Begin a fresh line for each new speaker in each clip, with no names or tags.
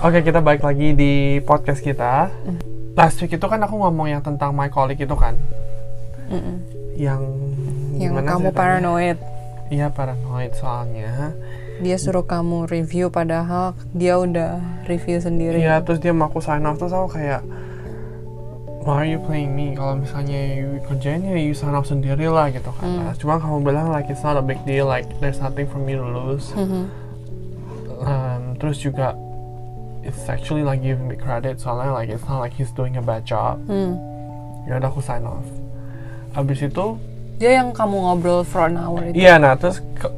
Oke, kita balik lagi di podcast kita.
Mm.
Last week itu kan aku ngomong yang tentang my colleague itu kan,
Mm-mm.
yang
Yang
gimana
kamu
ceritanya?
paranoid.
Iya paranoid soalnya.
Dia suruh kamu review padahal dia udah review sendiri.
Iya, terus dia mau aku sign off terus aku kayak Why are you playing me? Kalau misalnya you kerjain ya you sign off sendiri lah gitu kan.
Hmm.
Nah, Cuma kamu bilang like it's not a big deal, like there's nothing for me to lose.
Mhm. Mm.
Um, terus juga it's actually like giving me credit soalnya like it's not like he's doing a bad job.
Hmm.
Ya udah aku sign off. Habis itu
Dia yang kamu ngobrol for an hour itu.
Iya, nah terus ke-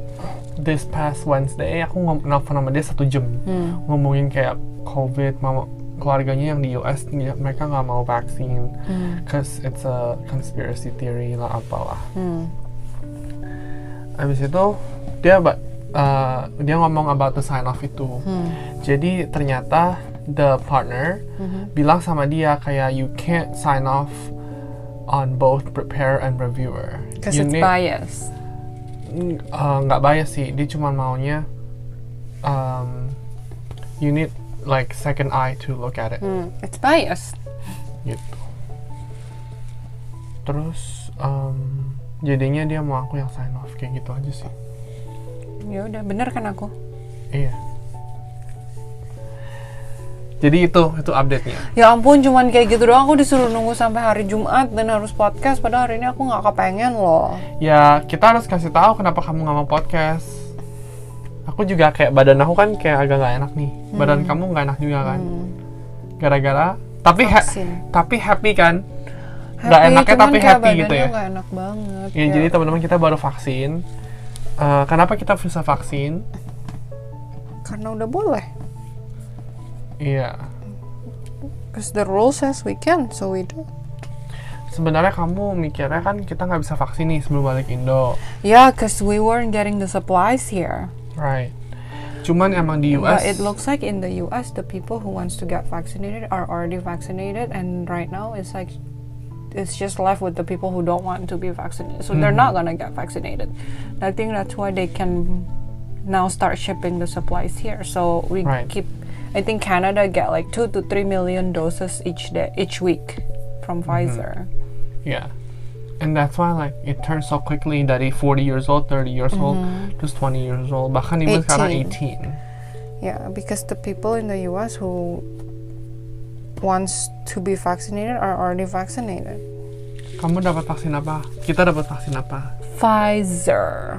this past Wednesday aku ngom- nelfon sama dia satu jam
Hmm.
ngomongin kayak COVID, mama keluarganya yang di US dia- mereka nggak mau vaksin
Hmm.
cause it's a conspiracy theory lah apalah.
Hmm.
Habis itu dia ba- uh, dia ngomong about the sign off itu.
Hmm.
Jadi ternyata the partner
Mhm.
bilang sama dia kayak you can't sign off on both preparer and reviewer.
Cause
You
it's
need-
biased.
Mm, uh, nggak bias sih dia cuma maunya um, you need like second eye to look at it
Hmm. It's biased.
gitu terus um, jadinya dia mau aku yang sign off kayak gitu aja sih
Ya udah bener kan aku.
iya jadi itu itu update nya
Ya ampun cuman kayak gitu doang aku disuruh nunggu sampai hari Jumat dan harus podcast padahal hari ini aku nggak kepengen loh.
ya kita harus kasih tahu kenapa kamu nggak mau podcast aku juga kayak badan aku kan kayak agak nggak enak nih badan kamu nggak enak juga kan
Hmm.
gara-gara tapi ha-
Vaksin.
tapi happy kan Nggak enaknya
cuman
tapi
kayak
happy gitu
badannya
ya?
nggak enak banget.
Ya, jadi teman-teman kita baru vaksin. Eh, kenapa kita bisa vaksin?
karena udah boleh.
Iya.
Because the rule says we can, so we do.
Sebenarnya kamu mikirnya kan kita nggak bisa vaksin nih sebelum balik Indo,
Yeah, because we weren't getting the supplies here.
right? Cuman emang di US,
But Iya, it looks like in the US, the people who wants to get vaccinated are already vaccinated, and right now it's like it's just left with the people who don't want to be vaccinated. So they're not gonna get vaccinated. I think that's why they can now start shipping the supplies here. So we
Right.
keep. I think Canada get like two to three million doses each day, each week from Pfizer.
yeah. iya. And that's why like it turns so quickly dari 40 years old, 30 years old,
Mhm.
terus 20 years old, bahkan even sekarang 18.
Yeah, because the people in the US who wants to be vaccinated are already vaccinated.
Kamu dapat vaksin apa? Kita dapat vaksin apa?
Pfizer.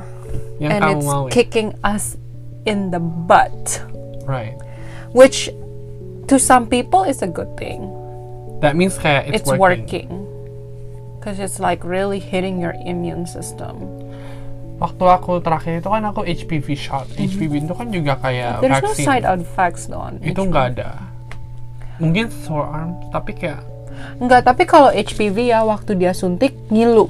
Yang
and
kamu
it's
mau, ya?
kicking us in the butt,
right?
which to some people is a good thing.
That means kayak it's,
It's, working. Cuz it's like really hitting your immune system.
Waktu aku terakhir itu kan aku HPV shot. HPV itu kan juga kayak
There's no
vaksin.
side effects though on
itu
HPV.
nggak ada mungkin sore arm tapi kayak
Nggak, tapi kalau HPV ya waktu dia suntik ngilu.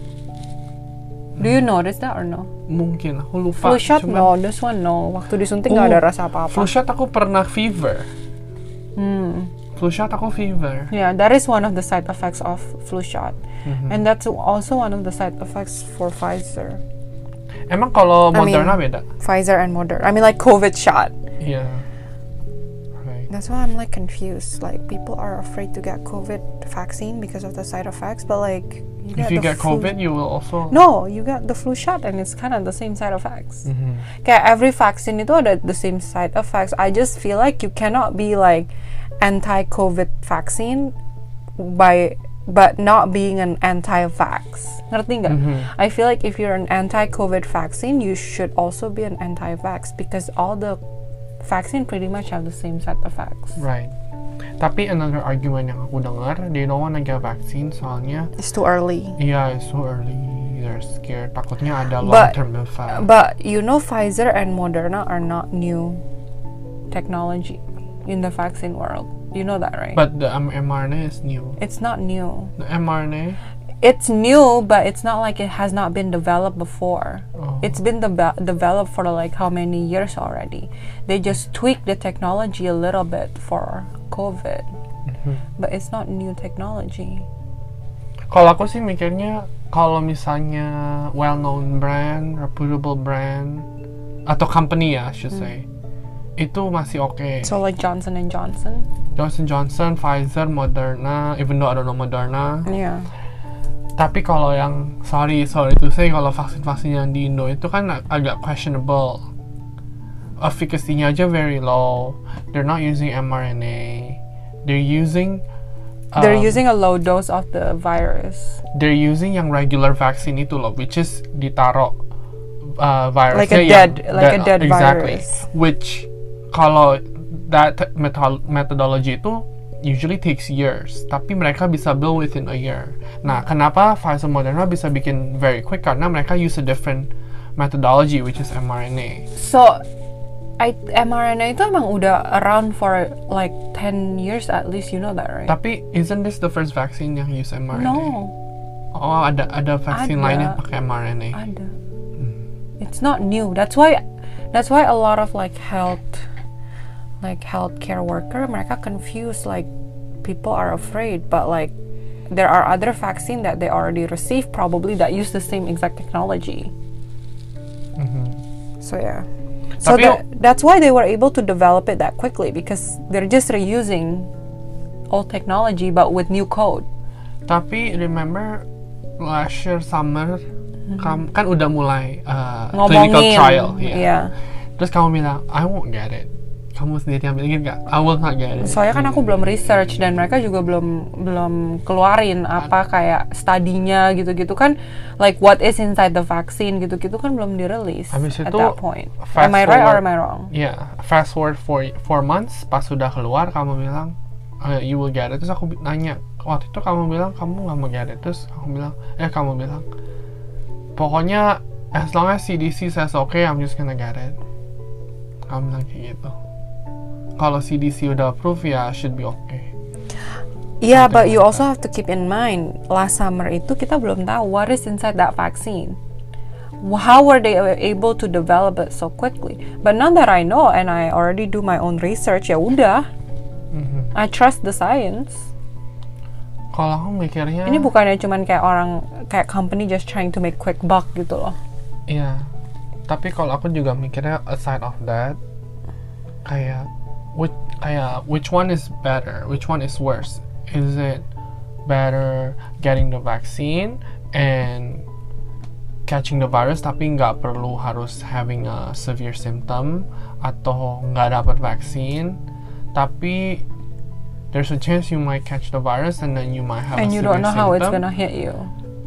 Do you notice that or no?
mungkin aku lupa
Flu shot
Cuman-
no, this one no. Waktu disuntik nggak
Oh,
ada rasa apa-apa.
flu shot aku pernah fever
Hmm.
flu shot aku fever
Yeah, that is one of the side effects of flu shot.
Mm-hmm.
And that's also one of the side effects for Pfizer.
emang kalau
I mean-
Moderna beda
Pfizer and Moderna. I mean like COVID shot.
iya Right.
That's why I'm like confused. Like people are afraid to get COVID vaccine because of the side effects, but like you
If you
the
get
flu-
COVID, you will also.
No, you get the flu shot and it's kind of the same side effects.
Mhm.
Kayak every vaccine itu ada the same side effects. I just feel like you cannot be like anti-COVID vaccine by but not being an anti-vax. Ngerti
Mm-hmm.
nggak? I feel like if you're an anti-COVID vaccine, you should also be an anti-vax because all the vaccine pretty much have the same side effects.
Right. Tapi another argument yang aku dengar, they don't wanna get vaccine soalnya,
It's too early.
iya it's so early, they're scared, takutnya ada long
But- uh,
term effect.
But you know, Pfizer and Moderna are not new technology in the vaccine world. You know that, right?
But the um, mRNA is new.
it's not new.
The mRNA,
It's new, but it's not like it has not been developed before.
Oh.
It's been deve- developed for like how many years already? They just tweak the technology a little bit for COVID,
Mm-hmm.
but it's not new technology.
Kalau aku sih mikirnya kalau misalnya well known brand, reputable brand atau company ya, I should say. itu masih oke.
Hmm. So like Johnson and Johnson.
Johnson Johnson, Pfizer, Moderna, even though I don't know Moderna.
Yeah.
Tapi kalau yang sorry sorry to say kalau vaksin-vaksin yang di Indo itu kan ag- agak questionable. Efficacy-nya aja very low. They're not using mRNA. They're using
They're
um,
using a low dose of the virus.
they're using yang regular vaccine itu loh, which is ditaro uh, virusnya
Like a
yang
dead- like a dead
exactly.
virus.
Which kalau that metho- methodology itu usually takes years, tapi mereka bisa build within a year. Nah,
Hmm.
kenapa Pfizer Moderna bisa bikin very quick? Karena mereka use a different methodology, which is mRNA.
So I, mRNA itu emang udah around for like 10 years at least, you know that, right?
Tapi isn't this the first vaccine yang use mRNA?
No,
Oh, ada ada vaksin
Ada.
lain yang pakai mRNA.
ada. It's not new. That's why that's why a lot of like health like healthcare worker mereka confused like people are afraid but like there are other vaccine that they already received probably that use the same exact technology. So yeah. So
Mm-hmm. Tapi-
that, that's why they were able to develop it that quickly because they're just reusing old technology but with new code.
Tapi remember last year summer kam- kan udah mulai uh, clinical
Hmm. Ngomongin. Iya.
trial, ya.
Yeah.
Terus kamu bilang, I won't get it. Kamu sendiri yang bilang gitu nggak? I will not get it.
Soalnya kan aku belum research dan mereka juga belum belum keluarin apa kayak studinya gitu-gitu kan like what is inside the vaccine gitu-gitu kan belum dirilis
Habis
at
itu,
that point.
fast
Am I right
forward-
or am I wrong?
Yeah, Ya, fast forward for four months pas sudah keluar kamu bilang "Eh, you will get it. Terus aku bi- nanya waktu itu kamu bilang kamu nggak mau get it. Terus aku bilang eh kamu bilang pokoknya as long as CDC says okay I'm just gonna get it. Kamu bilang kayak gitu. Kalau CDC udah approve ya should be okay.
Yeah,
Something
Iya, but you
like
also have to keep in mind last summer itu kita belum tahu what is inside that vaccine. How were they able to develop it so quickly? But now that I know and I already do my own research, ya udah.
Mm-hmm.
I trust the science.
Kalau aku mikirnya
Ini bukannya cuman kayak orang kayak company just trying to make quick buck gitu loh.
Iya. Tapi kalau aku juga mikirnya aside of that kayak which kayak which one is better, which one is worse? Is it better getting the vaccine and catching the virus tapi nggak perlu harus having a severe symptom atau nggak dapat vaksin tapi there's a chance you might catch the virus and then you might have
And
a
you
severe
don't know how it's
symptom,
gonna hit you.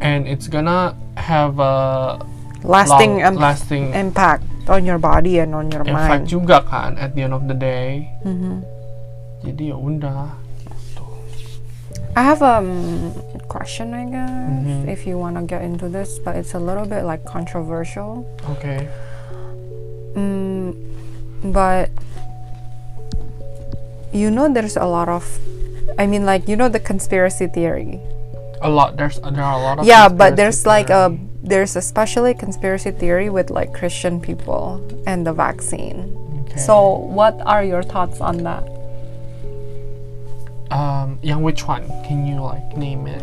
and it's gonna have a
Lasting
long-
imp-
lasting
impact on your body and on your
efek
mind.
juga kan at the end of the day
Mhm.
jadi ya udah
I have a question, I guess,
Mm-hmm.
if you wanna get into this, but it's a little bit like controversial.
oke
Mm, but you know, there's a lot of, I mean, like you know the conspiracy theory.
a lot there's there are a lot of
yeah
conspiracy
but there's like a
theory.
there's especially conspiracy theory with like christian people and the vaccine
Okay.
so what are your thoughts on that
um yang which one can you like name it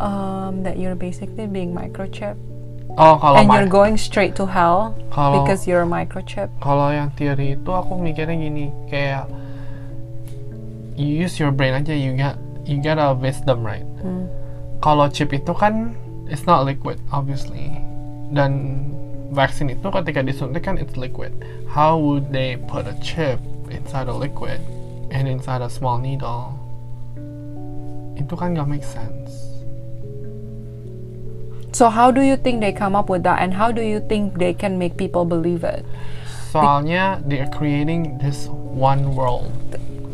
um, that you're basically being microchipped
oh kalau
and
mi-
you're going straight to hell
kalau
because you're microchipped
kalau yang teori itu aku mikirnya gini kayak you use your brain aja you get you get a wisdom right kalau chip itu kan it's not liquid obviously dan vaksin itu ketika disuntik kan it's liquid how would they put a chip inside a liquid and inside a small needle itu kan gak make sense
so how do you think they come up with that and how do you think they can make people believe it
soalnya they are creating this one world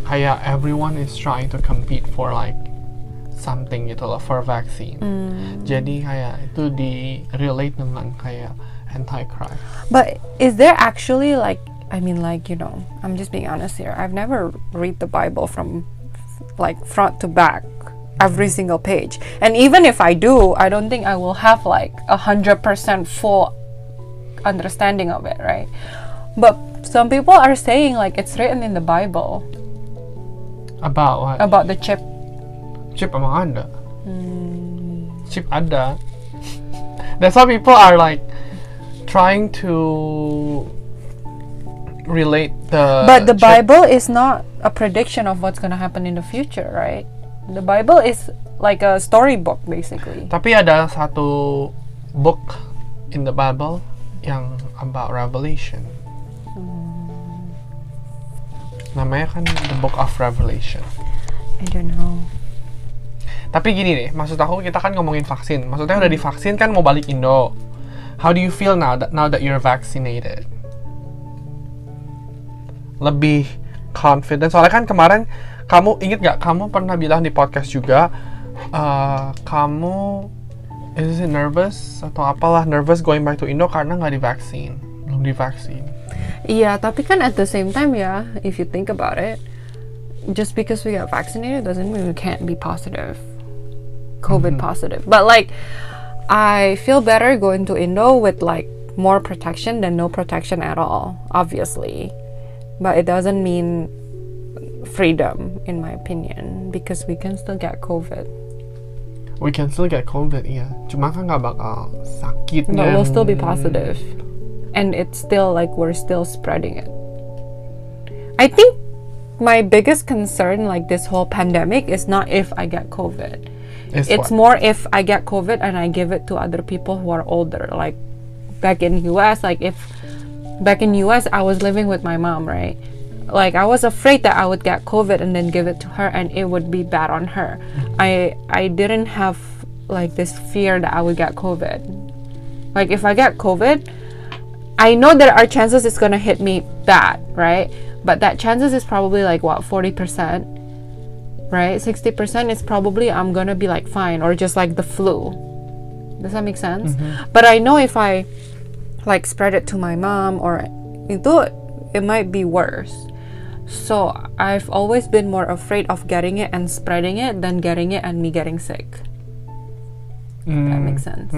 kayak everyone is trying to compete for like something gitu loh for vaccine
Hmm.
jadi kayak itu di relate dengan kayak anti crime
But is there actually like I mean like you know I'm just being honest here. I've never read the Bible from like front to back every single page. And even if I do, I don't think I will have like a hundred percent full understanding of it, right? But some people are saying like it's written in the Bible
about what
about the chip.
chip emang ada chip ada that's why people are like trying to relate the
but the
church-
Bible is not a prediction of what's gonna happen in the future, right? The Bible is like a storybook basically.
Tapi ada satu book in the Bible yang about Revelation.
Mm.
Namanya kan the Book of Revelation.
I don't know.
Tapi gini deh, maksud aku kita kan ngomongin vaksin. Maksudnya udah divaksin kan mau balik Indo. How do you feel now that now that you're vaccinated? Lebih confident. Soalnya kan kemarin kamu inget gak? Kamu pernah bilang di podcast juga eh, kamu is it nervous atau apalah nervous going back to Indo karena nggak divaksin, belum divaksin.
Yeah, tapi kan at the same time yeah, if you think about it, just because we got vaccinated doesn't mean we can't be positive. COVID positive. But like I feel better going to Indo with like more protection than no protection at all, obviously. But it doesn't mean freedom in my opinion because we can still get COVID.
We can still get COVID, iya. Cuma kan nggak bakal sakit.
But
dan-
we'll still be positive. And it's still like we're still spreading it. I think my biggest concern, like this whole pandemic, is not if I get COVID.
It's what?
It's more if I get COVID and I give it to other people who are older. Like back in US, like if back in US I was living with my mom, right? Like I was afraid that I would get COVID and then give it to her and it would be bad on her. I I didn't have like this fear that I would get COVID. Like if I get COVID, I know there are chances it's gonna hit me bad, right? But that chances is probably like what forty percent right? 60% is probably I'm gonna be like fine or just like the flu. Does that make sense? But I know if I like spread it to my mom or itu, it might be worse. So I've always been more afraid of getting it and spreading it than getting it and me getting sick. That makes sense.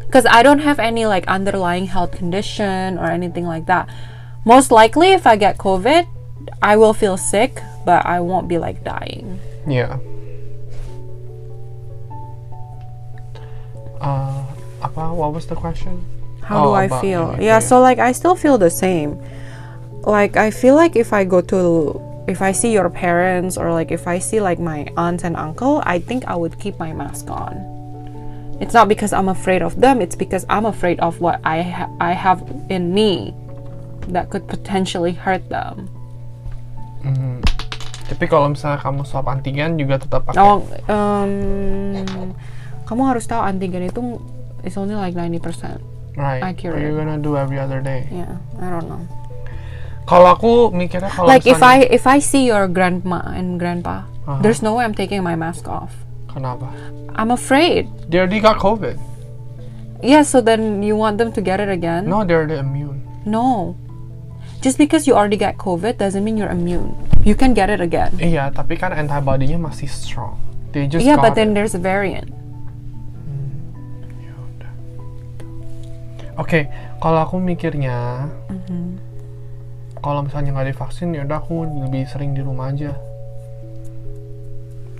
Because I don't have any like underlying health condition or anything like that. Most likely, if I get COVID, I will feel sick, but I won't be like dying.
Iya. Uh, apa? What was the question?
How
Oh,
do I
about
feel?
you,
Yeah,
yeah.
so like I still feel the same. Like I feel like if I go to if I see your parents or like if I see like my aunt and uncle, I think I would keep my mask on. It's not because I'm afraid of them, it's because I'm afraid of what I ha- I have in me that could potentially hurt them.
Tapi kalau misalnya kamu swab antigen juga tetap pakai.
Oh, um, kamu harus tahu antigen itu is only like 90%.
right.
accurate.
What you gonna do every other day?
Yeah, I don't know.
Kalau aku mikirnya kalau
like if
misalnya-
I if I see your grandma and grandpa,
Uh-huh.
there's no way I'm taking my mask off.
kenapa?
I'm afraid.
They already got COVID.
Yeah, so then you want them to get it again?
No, they're already immune.
No. Just because you already got COVID doesn't mean you're immune. You can get it again.
Iya, tapi kan antibody-nya masih strong. They just
yeah,
got
Iya, but then
it.
there's a variant.
Oke, kalau aku mikirnya,
Mm-hmm.
kalau misalnya nggak divaksin, ya udah aku lebih sering di rumah aja.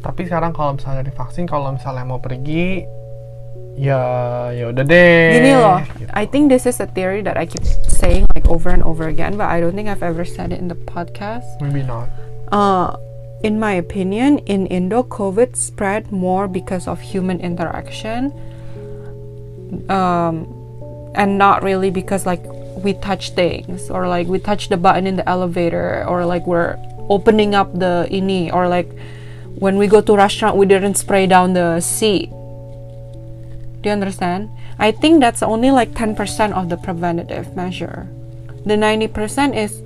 Tapi sekarang kalau misalnya divaksin, kalau misalnya mau pergi, ya ya udah deh.
Gini loh,
Gitu.
I think this is a theory that I keep saying like over and over again, but I don't think I've ever said it in the podcast.
Maybe not.
Uh, in my opinion, in Indo, COVID spread more because of human interaction, um, and not really because like we touch things or like we touch the button in the elevator or like we're opening up the ini or like when we go to restaurant we didn't spray down the seat. Do you understand? I think that's only like 10% of the preventative measure. The 90% is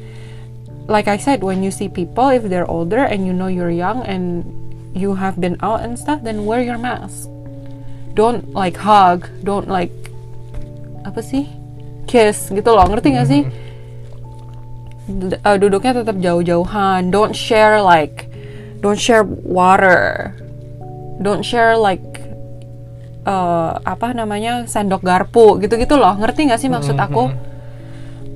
like I said, when you see people, if they're older and you know you're young and you have been out and stuff, then wear your mask. Don't like hug, don't like apa sih? Kiss gitu loh, ngerti gak sih? D- uh, duduknya tetap jauh-jauhan. Don't share like don't share water. Don't share like uh, apa namanya? sendok garpu gitu-gitu loh. Ngerti gak sih maksud aku?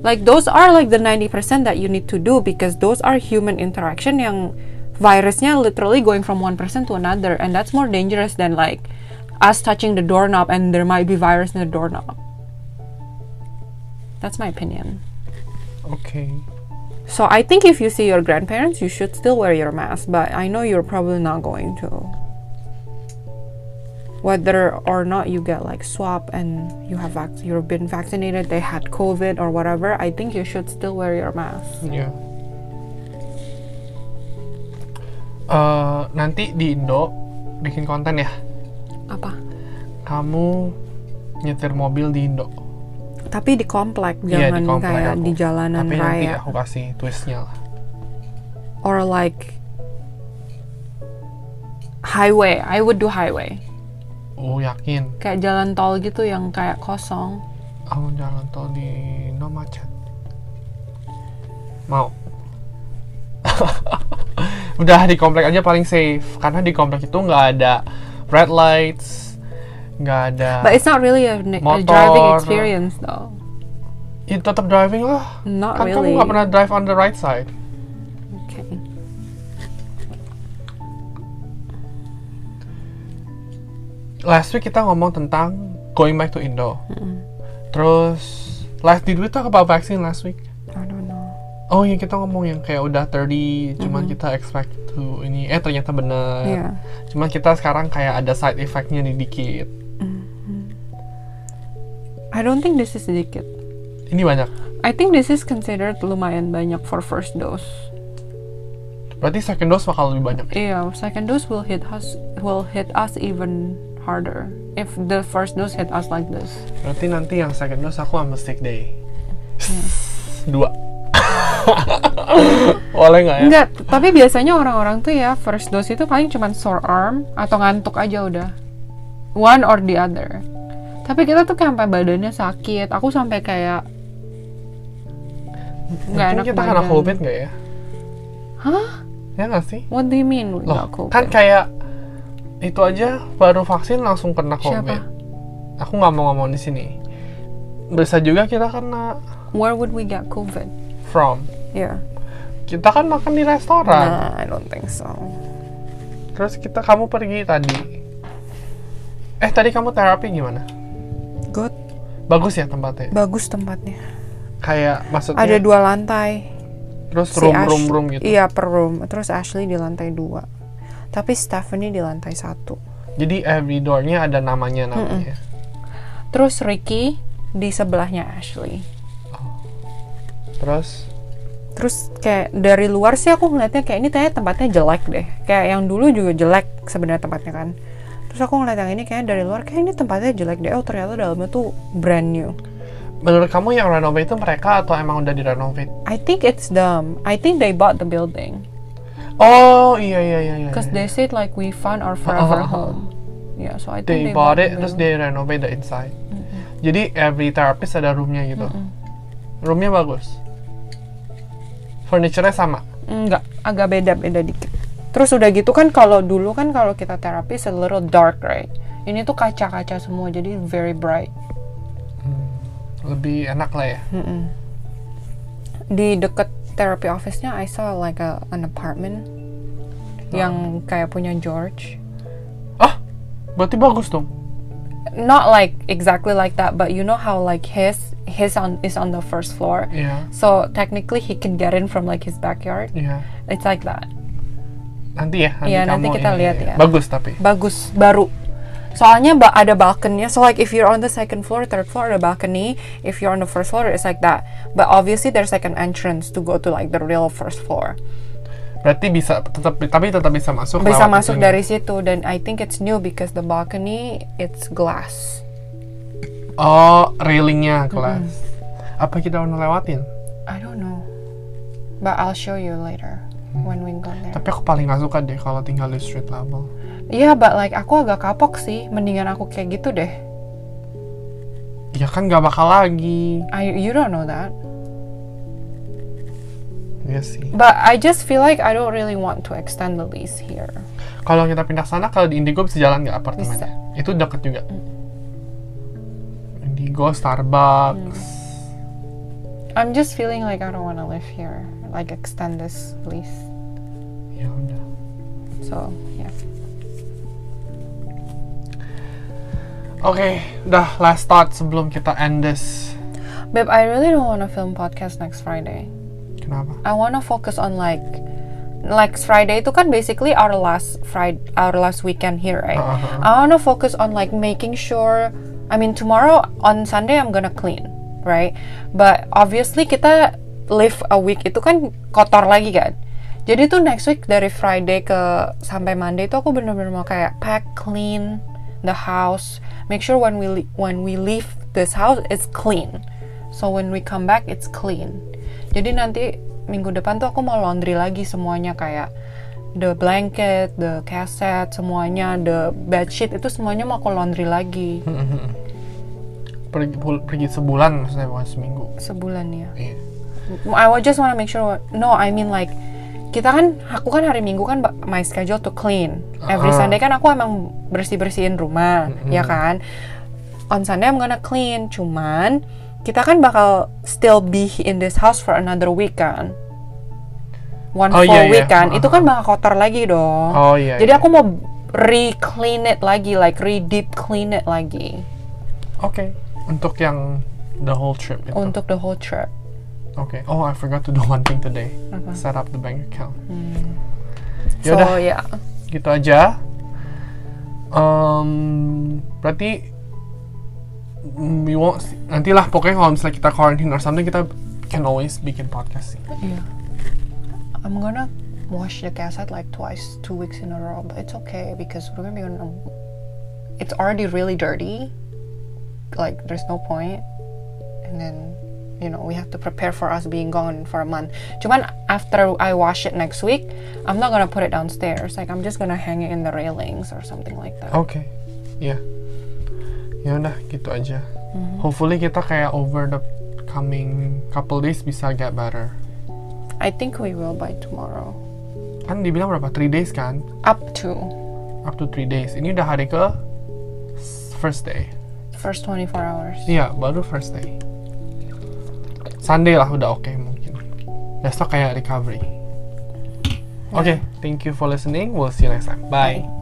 like those are like the 90% that you need to do because those are human interaction yang virusnya literally going from one person to another and that's more dangerous than like us touching the doorknob and there might be virus in the doorknob that's my opinion
Oke.
So I think if you see your grandparents, you should still wear your mask, but I know you're probably not going to. Whether or not you get like swab and you have vac- you've been vaccinated, they had COVID or whatever, I think you should still wear your mask.
Iya. Eh, nanti di Indo bikin konten ya.
Apa?
Kamu nyetir mobil di Indo.
Tapi di komplek,
Iya,
jangan
di komplek
kayak
aku.
di jalanan
Tapi nanti
raya
aku kasih twistnya lah.
or like highway. I would do highway.
Oh yakin.
Kayak jalan tol gitu yang kayak kosong.
Aku jalan tol di Indo macet. Mau? Udah di komplek aja paling safe karena di komplek itu nggak ada red lights, nggak ada.
But it's not really a, n- a driving
Motor.
experience though.
Ya, tetap driving lah.
Not
Kan kamu
really.
nggak pernah drive on the right side.
Okay.
last week kita ngomong tentang going back to Indo. Terus last did we talk about vaccine last week?
I don't know.
Oh, yang kita ngomong yang kayak udah 30 cuman
Mm-hmm.
kita expect to ini eh ternyata bener.
Yeah.
Cuman kita sekarang kayak ada side effect-nya nih dikit.
I don't think this is sedikit.
Ini banyak.
I think this is considered lumayan banyak for first dose.
Berarti second dose bakal lebih banyak.
Yeah, second dose will hit us will hit us even harder if the first dose hit us like this.
Berarti nanti yang second dose aku ambil sick day. Hmm. Dua. Boleh nggak ya?
Enggak, tapi biasanya orang-orang tuh ya first dose itu paling cuman sore arm atau ngantuk aja udah. One or the other. Tapi kita tuh kayak sampai badannya sakit. Aku sampai kayak nggak
Mungkin
enak
kita kena
badan.
covid nggak ya?
Hah?
Ya nggak sih?
What do you mean? we
Loh,
nggak COVID?
kan kayak itu aja baru vaksin langsung kena COVID.
Siapa?
Aku nggak mau ngomong di sini. Bisa juga kita kena
Where would we get COVID?
from.
Yeah.
Kita kan makan di restoran.
Nah, I don't think so.
Terus kita kamu pergi tadi. Eh tadi kamu terapi gimana?
Good.
Bagus ya tempatnya.
Bagus tempatnya.
Kayak maksudnya
Ada dua lantai.
terus
Si
room
Ash-
room room gitu.
Iya, per room. Terus Ashley di lantai dua. Tapi Stephanie di lantai satu.
Jadi every door-nya ada namanya namanya.
Terus Ricky di sebelahnya Ashley.
Terus
Terus kayak dari luar sih aku ngeliatnya kayak ini kayaknya tempatnya jelek deh. Kayak yang dulu juga jelek sebenarnya tempatnya kan. Terus aku ngeliat yang ini kayaknya dari luar kayak ini tempatnya jelek deh. Oh ternyata dalamnya tuh brand new.
menurut kamu yang renovate itu mereka atau emang udah direnovate?
I think it's them. I think they bought the building.
Oh iya iya iya. iya,
Cause
iya.
they said like we found our
Ah, ah, ah, ah.
forever home. Yeah, so I think
they
they,
bought it
the
terus
building.
they renovate the inside jadi every therapist ada roomnya gitu roomnya bagus furniture-nya sama
Enggak, agak beda-beda dikit. Terus udah gitu kan kalau dulu kan kalau kita terapi it's a little dark right. Ini tuh kaca-kaca semua jadi very bright.
lebih enak lah ya
Di deket therapy office-nya I saw like a, an apartment yang kayak punya George.
berarti bagus dong
Not like exactly like that, but you know how like his his on is on the first floor.
iya
So technically he can get in from like his backyard.
iya
It's like that.
nanti ya nanti
Iya,
kamu
nanti kita
ini-
lihat ya.
bagus tapi
bagus baru soalnya ba- ada balkonnya so like if you're on the second floor third floor ada balcony if you're on the first floor it's like that but obviously there's like an entrance to go to like the real first floor
berarti bisa tetap tapi tetap bisa masuk lewat ya.
bisa masuk
itunya.
dari situ dan I think it's new because the balcony it's glass
oh railingnya kelas apa kita mau lewatin
I don't know but I'll show you later when we go there
tapi aku paling gak suka deh kalau tinggal di street level
Iya, but like aku agak kapok sih mendingan aku kayak gitu deh
ya kan gak bakal lagi
I you don't know that
iya sih
but I just feel like I don't really want to extend the lease here
Kalau kita pindah sana, kalau di Indigo bisa jalan nggak apartemennya? Itu deket juga. Indigo, Starbucks.
I'm just feeling like I don't want to live here, like extend this lease. Mm.
Ya udah.
So yeah.
Oke, udah last thought sebelum kita end this.
Babe, I really don't want to film podcast next Friday.
Kenapa?
I wanna focus on like like Friday itu kan basically our last Friday our last weekend here right
Uh-huh.
I wanna focus on like making sure I mean tomorrow on Sunday I'm gonna clean right but obviously kita live a week itu kan kotor lagi kan jadi tuh next week dari Friday ke sampai Monday itu aku bener-bener mau kayak pack clean the house make sure when we le- when we leave this house it's clean so when we come back it's clean jadi nanti minggu depan tuh aku mau laundry lagi semuanya kayak the blanket, the cassette, semuanya, the bed sheet itu semuanya mau aku laundry lagi
Hmm. Pergi, pul- pergi sebulan maksudnya bukan seminggu.
sebulan ya.
Iya.
I wa- just wanna make sure. No, I mean like kita kan aku kan hari Minggu kan ba- my schedule to clean. Every
Ah. Hmm.
Sunday kan aku emang bersih-bersihin rumah, ya kan? On Sunday I'm gonna clean, cuman kita kan bakal still be in this house for another week kan. One
Oh,
full
iya, iya.
week kan. Itu kan
Ah.
bakal kotor lagi dong.
Oh iya.
Jadi
iya.
aku mau re-clean it lagi, like re-deep clean it lagi
Oke. Untuk yang the whole trip gitu. itu. Oke.
untuk the whole trip.
Oh, I forgot to do one thing today.
Apa? Hmm.
Set up the bank account.
So
Yaudah.
ya,
gitu aja. Em, berarti mm, we won't see- nantilah pokoknya kalau misalnya kita quarantine or something kita can always bikin podcast sih.
yeah. I'm gonna wash the cassette like twice, two weeks in a row, but it's okay because we're gonna be on. a- It's already really dirty. Like there's no point. And then, you know, we have to prepare for us being gone for a month. Cuman after I wash it next week, I'm not gonna put it downstairs. Like I'm just gonna hang it in the railings or something like that.
Oke. Ya. Ya udah gitu aja.
Hmm.
Hopefully kita kayak over the coming couple days bisa get better.
I think we will by tomorrow.
Kan dibilang berapa? 3 days kan?
Up to
Up to 3 days. Ini udah hari ke s- first day.
first 24 hours.
Iya, baru first day. Sunday lah udah oke mungkin. Besok kayak recovery. Oke, thank you for listening. We'll see you next time. Bye.